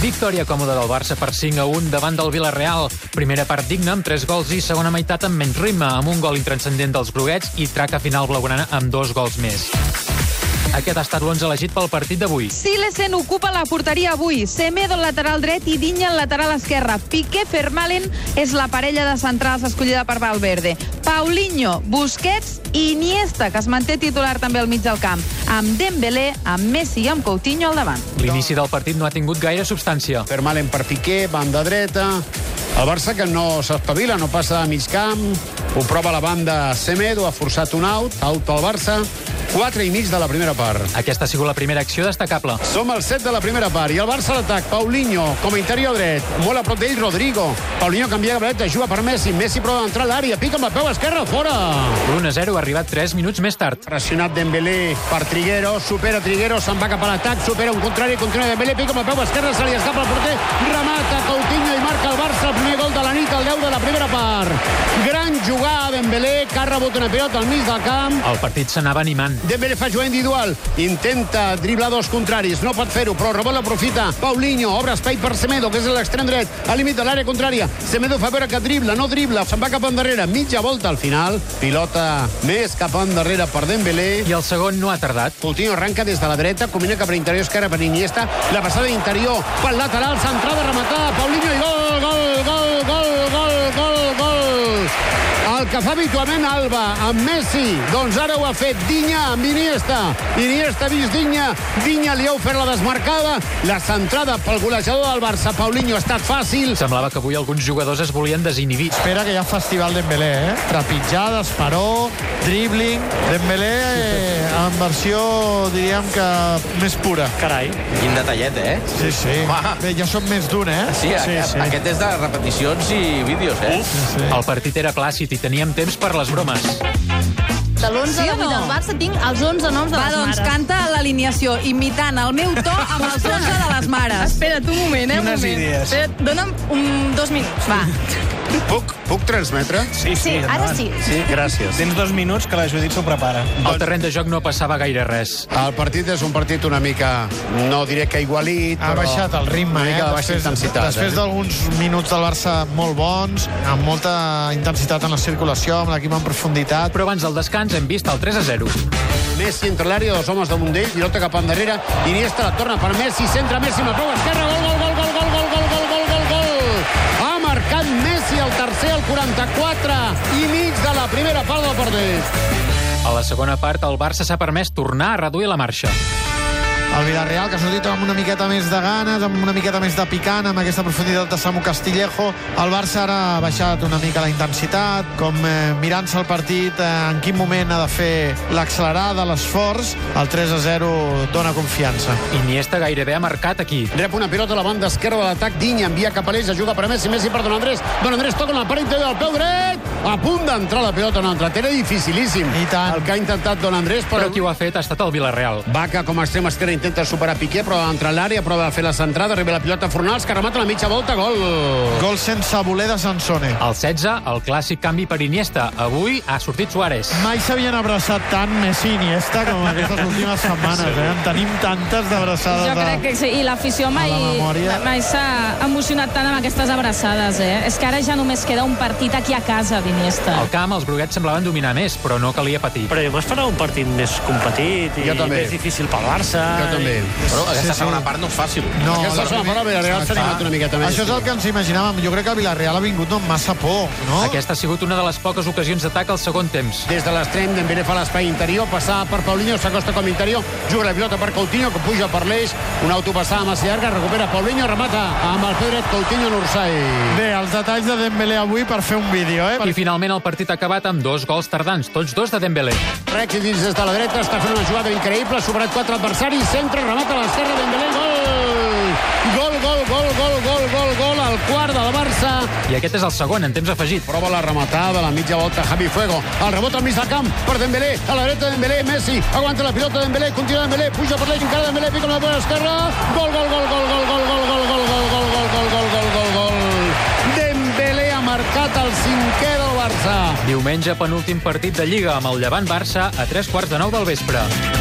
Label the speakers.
Speaker 1: Victòria còmoda del Barça per 5 a 1 davant del Villarreal. Primera part digna amb 3 gols i segona meitat amb menys ritme, amb un gol intranscendent dels groguets i traca final blaugrana amb dos gols més. Aquest ha estat l'11 elegit pel partit d'avui.
Speaker 2: Silesen ocupa la porteria avui. Semedo al lateral dret i Dinya al lateral esquerre. Piqué Fermalen és la parella de centrals escollida per Valverde. Paulinho, Busquets i Iniesta, que es manté titular també al mig del camp. Amb Dembélé, amb Messi i amb Coutinho al davant.
Speaker 1: L'inici del partit no ha tingut gaire substància.
Speaker 3: Fermalen per Piqué, banda dreta. El Barça que no s'espavila, no passa a mig camp. Ho prova la banda Semedo, ha forçat un out. Out al Barça. 4 i mig de la primera part.
Speaker 1: Aquesta ha sigut la primera acció destacable.
Speaker 3: Som al set de la primera part i el Barça a l'atac. Paulinho, com a interior dret. Molt a prop d'ell, Rodrigo. Paulinho canvia de dreta, juga per Messi. Messi prova d'entrar a l'àrea, pica amb el peu esquerre, fora.
Speaker 1: L'1 a 0 ha arribat 3 minuts més tard.
Speaker 3: Pressionat Dembélé per Trigueros, supera Trigueros, se'n va cap a l'atac, supera un contrari, continua Dembélé, pica amb el peu esquerre, se li escapa el porter, remata Coutinho i marca el Barça el primer gol de la nit, el 10 de la primera part. Gran jugada Dembélé, que ha rebut una pilota al mig del camp.
Speaker 1: El partit s'anava animant.
Speaker 3: Dembélé fa jugada individual, intenta driblar dos contraris, no pot fer-ho, però el rebot l'aprofita. Paulinho obre espai per Semedo, que és a l'extrem dret, al límit de l'àrea contrària. Semedo fa veure que dribla, no dribla, se'n va cap endarrere, mitja volta al final. Pilota més cap endarrere per Dembélé.
Speaker 1: I el segon no ha tardat.
Speaker 3: Coutinho arranca des de la dreta, combina cap a l'interior esquerra per Iniesta, la passada interior pel lateral, centrada, rematada, Paulinho i gol, gol, gol, gol, gol, gol, gol. El que fa habitualment Alba amb Messi, doncs ara ho ha fet Dinya amb Iniesta. Iniesta ha vist Dinya, Dinya li ha ofert la desmarcada, la centrada pel golejador del Barça, Paulinho, ha estat fàcil.
Speaker 1: Semblava que avui alguns jugadors es volien desinhibir.
Speaker 4: Espera que hi ha festival Dembélé, eh? Trepitjada, esperó, dribbling... Dembélé eh, en versió, diríem que més pura.
Speaker 5: Carai.
Speaker 6: Quin detallet, eh?
Speaker 4: Sí, sí.
Speaker 6: Va.
Speaker 4: Bé, ja som més d'un, eh?
Speaker 6: Sí, sí, aquest, sí, aquest és de repeticions i vídeos, eh? Uf.
Speaker 4: Sí.
Speaker 1: El partit era plàcid i teníem temps per les bromes.
Speaker 7: De l'11
Speaker 2: Sí o
Speaker 7: sí
Speaker 2: no?
Speaker 7: no? del Barça tinc els 11 noms de
Speaker 2: Va,
Speaker 7: les
Speaker 2: doncs,
Speaker 7: mares.
Speaker 2: canta l'alineació, imitant el meu to amb els 12 de les mares.
Speaker 7: Espera't un moment, eh?
Speaker 5: Quines
Speaker 7: un moment.
Speaker 5: idees.
Speaker 7: Espera't, dona'm un, dos minuts.
Speaker 2: Va,
Speaker 3: Puc, puc transmetre?
Speaker 5: Sí,
Speaker 7: Sí, ara sí.
Speaker 3: Sí, gràcies.
Speaker 5: Tens dos minuts que la Judit s'ho prepara.
Speaker 1: Al terreny de joc no passava gaire res.
Speaker 3: El partit és un partit una mica, no diré que igualit,
Speaker 4: Ha baixat el ritme,
Speaker 3: una
Speaker 4: eh?
Speaker 3: mica de baixa intensitat.
Speaker 4: després
Speaker 3: eh?
Speaker 4: d'alguns minuts del Barça molt bons, amb molta intensitat en la circulació, amb l'equip en profunditat,
Speaker 1: Però abans del descans hem vist el 3 a 0.
Speaker 3: Messi entre l'àrea, dos homes damunt d'ell, pilota cap endarrere, Iniesta la torna per Messi, centra Messi amb la prova esquerra, gol, gol, gol, gol, gol, gol, gol, gol, gol, gol, gol. Ha marcat Messi el tercer al 44 i mig de la primera part del partit.
Speaker 1: A la segona part, el Barça s'ha permès tornar a reduir la marxa.
Speaker 4: El Villarreal, que ha sortit amb una miqueta més de ganes, amb una miqueta més de picant, amb aquesta profunditat de Samu Castillejo. El Barça ara ha baixat una mica la intensitat, com eh, mirant-se el partit, eh, en quin moment ha de fer l'accelerada, l'esforç. El 3-0 dona confiança.
Speaker 1: Iniesta gairebé ha marcat aquí.
Speaker 3: Rep una pilota a la banda esquerra de l'atac, Dinya envia cap a l'eix, juga per Messi, Messi per Don Andrés, Don Andrés toca una part interior del peu dret, a punt d'entrar la pilota en l'entra. Era dificilíssim
Speaker 4: I tant.
Speaker 3: el que ha intentat Don Andrés,
Speaker 1: Però
Speaker 3: però
Speaker 1: qui ho ha fet ha estat el Villarreal.
Speaker 3: Vaca com a extrem esquerre intenta superar Piqué, però entra a l'àrea, prova de fer la centrada, arriba la pilota a Fornals, que remata la mitja volta, gol!
Speaker 4: Gol sense voler de Sansone.
Speaker 1: Al 16, el clàssic canvi per Iniesta. Avui ha sortit Suárez.
Speaker 4: Mai s'havien abraçat tant Messi i Iniesta com aquestes últimes setmanes. Eh? En tenim tantes d'abraçades.
Speaker 7: Jo
Speaker 4: de-
Speaker 7: crec que sí, i l'afició mai,
Speaker 4: A la memòria.
Speaker 7: mai s'ha emocionat tant amb aquestes abraçades, eh? És que ara ja només queda un partit aquí a casa d'Iniesta.
Speaker 1: Al camp, els groguets semblaven dominar més, però no calia patir.
Speaker 5: Però jo m'esperava un partit més competit i
Speaker 3: Jo també.
Speaker 5: més difícil pel Barça.
Speaker 3: Jo també.
Speaker 6: Però aquesta sí,
Speaker 4: Sí, sí.
Speaker 6: sí. segona part no és fàcil.
Speaker 4: No,
Speaker 3: Aquesta segona part, el Villarreal s'ha animat una miqueta més.
Speaker 4: Això és el que ens imaginàvem. Jo crec que el Villarreal ha vingut amb massa por, no?
Speaker 1: Aquesta ha sigut una de les poques ocasions d'atac al segon temps.
Speaker 3: Des de l'extrem, Dembélé fa l'espai interior, passada per Paulinho, s'acosta com a interior, juga la pilota per Coutinho, que puja per l'eix, una autopassada massa llarga, recupera Paulinho, remata amb el peu dret Coutinho Nursai.
Speaker 4: Bé, els detalls de Dembélé avui per fer un vídeo, eh?
Speaker 1: I finalment el partit ha acabat amb dos gols tardans, tots dos de Dembélé.
Speaker 3: Rex dins des de la dreta, està fent una jugada increïble, ha superat quatre adversaris, centra, remata a l'esquerra, Dembélé, gol! Gol, gol, gol, gol, gol, gol, gol, al quart del Barça.
Speaker 1: I aquest és el segon, en temps afegit.
Speaker 3: Prova la rematada, la mitja volta, Javi Fuego. El rebot al mig del camp per Dembélé. A la dreta Dembélé, Messi. Aguanta la pilota Dembélé, continua Dembélé, puja per l'eix, encara Dembélé, pica amb la bona esquerra. Gol, gol, gol, gol, gol, gol, gol, gol, gol, gol, gol, gol, gol, gol, gol, gol, gol. Dembélé ha marcat el cinquè del Barça.
Speaker 1: Diumenge, penúltim partit de Lliga amb el Llevant Barça a tres quarts de nou del vespre.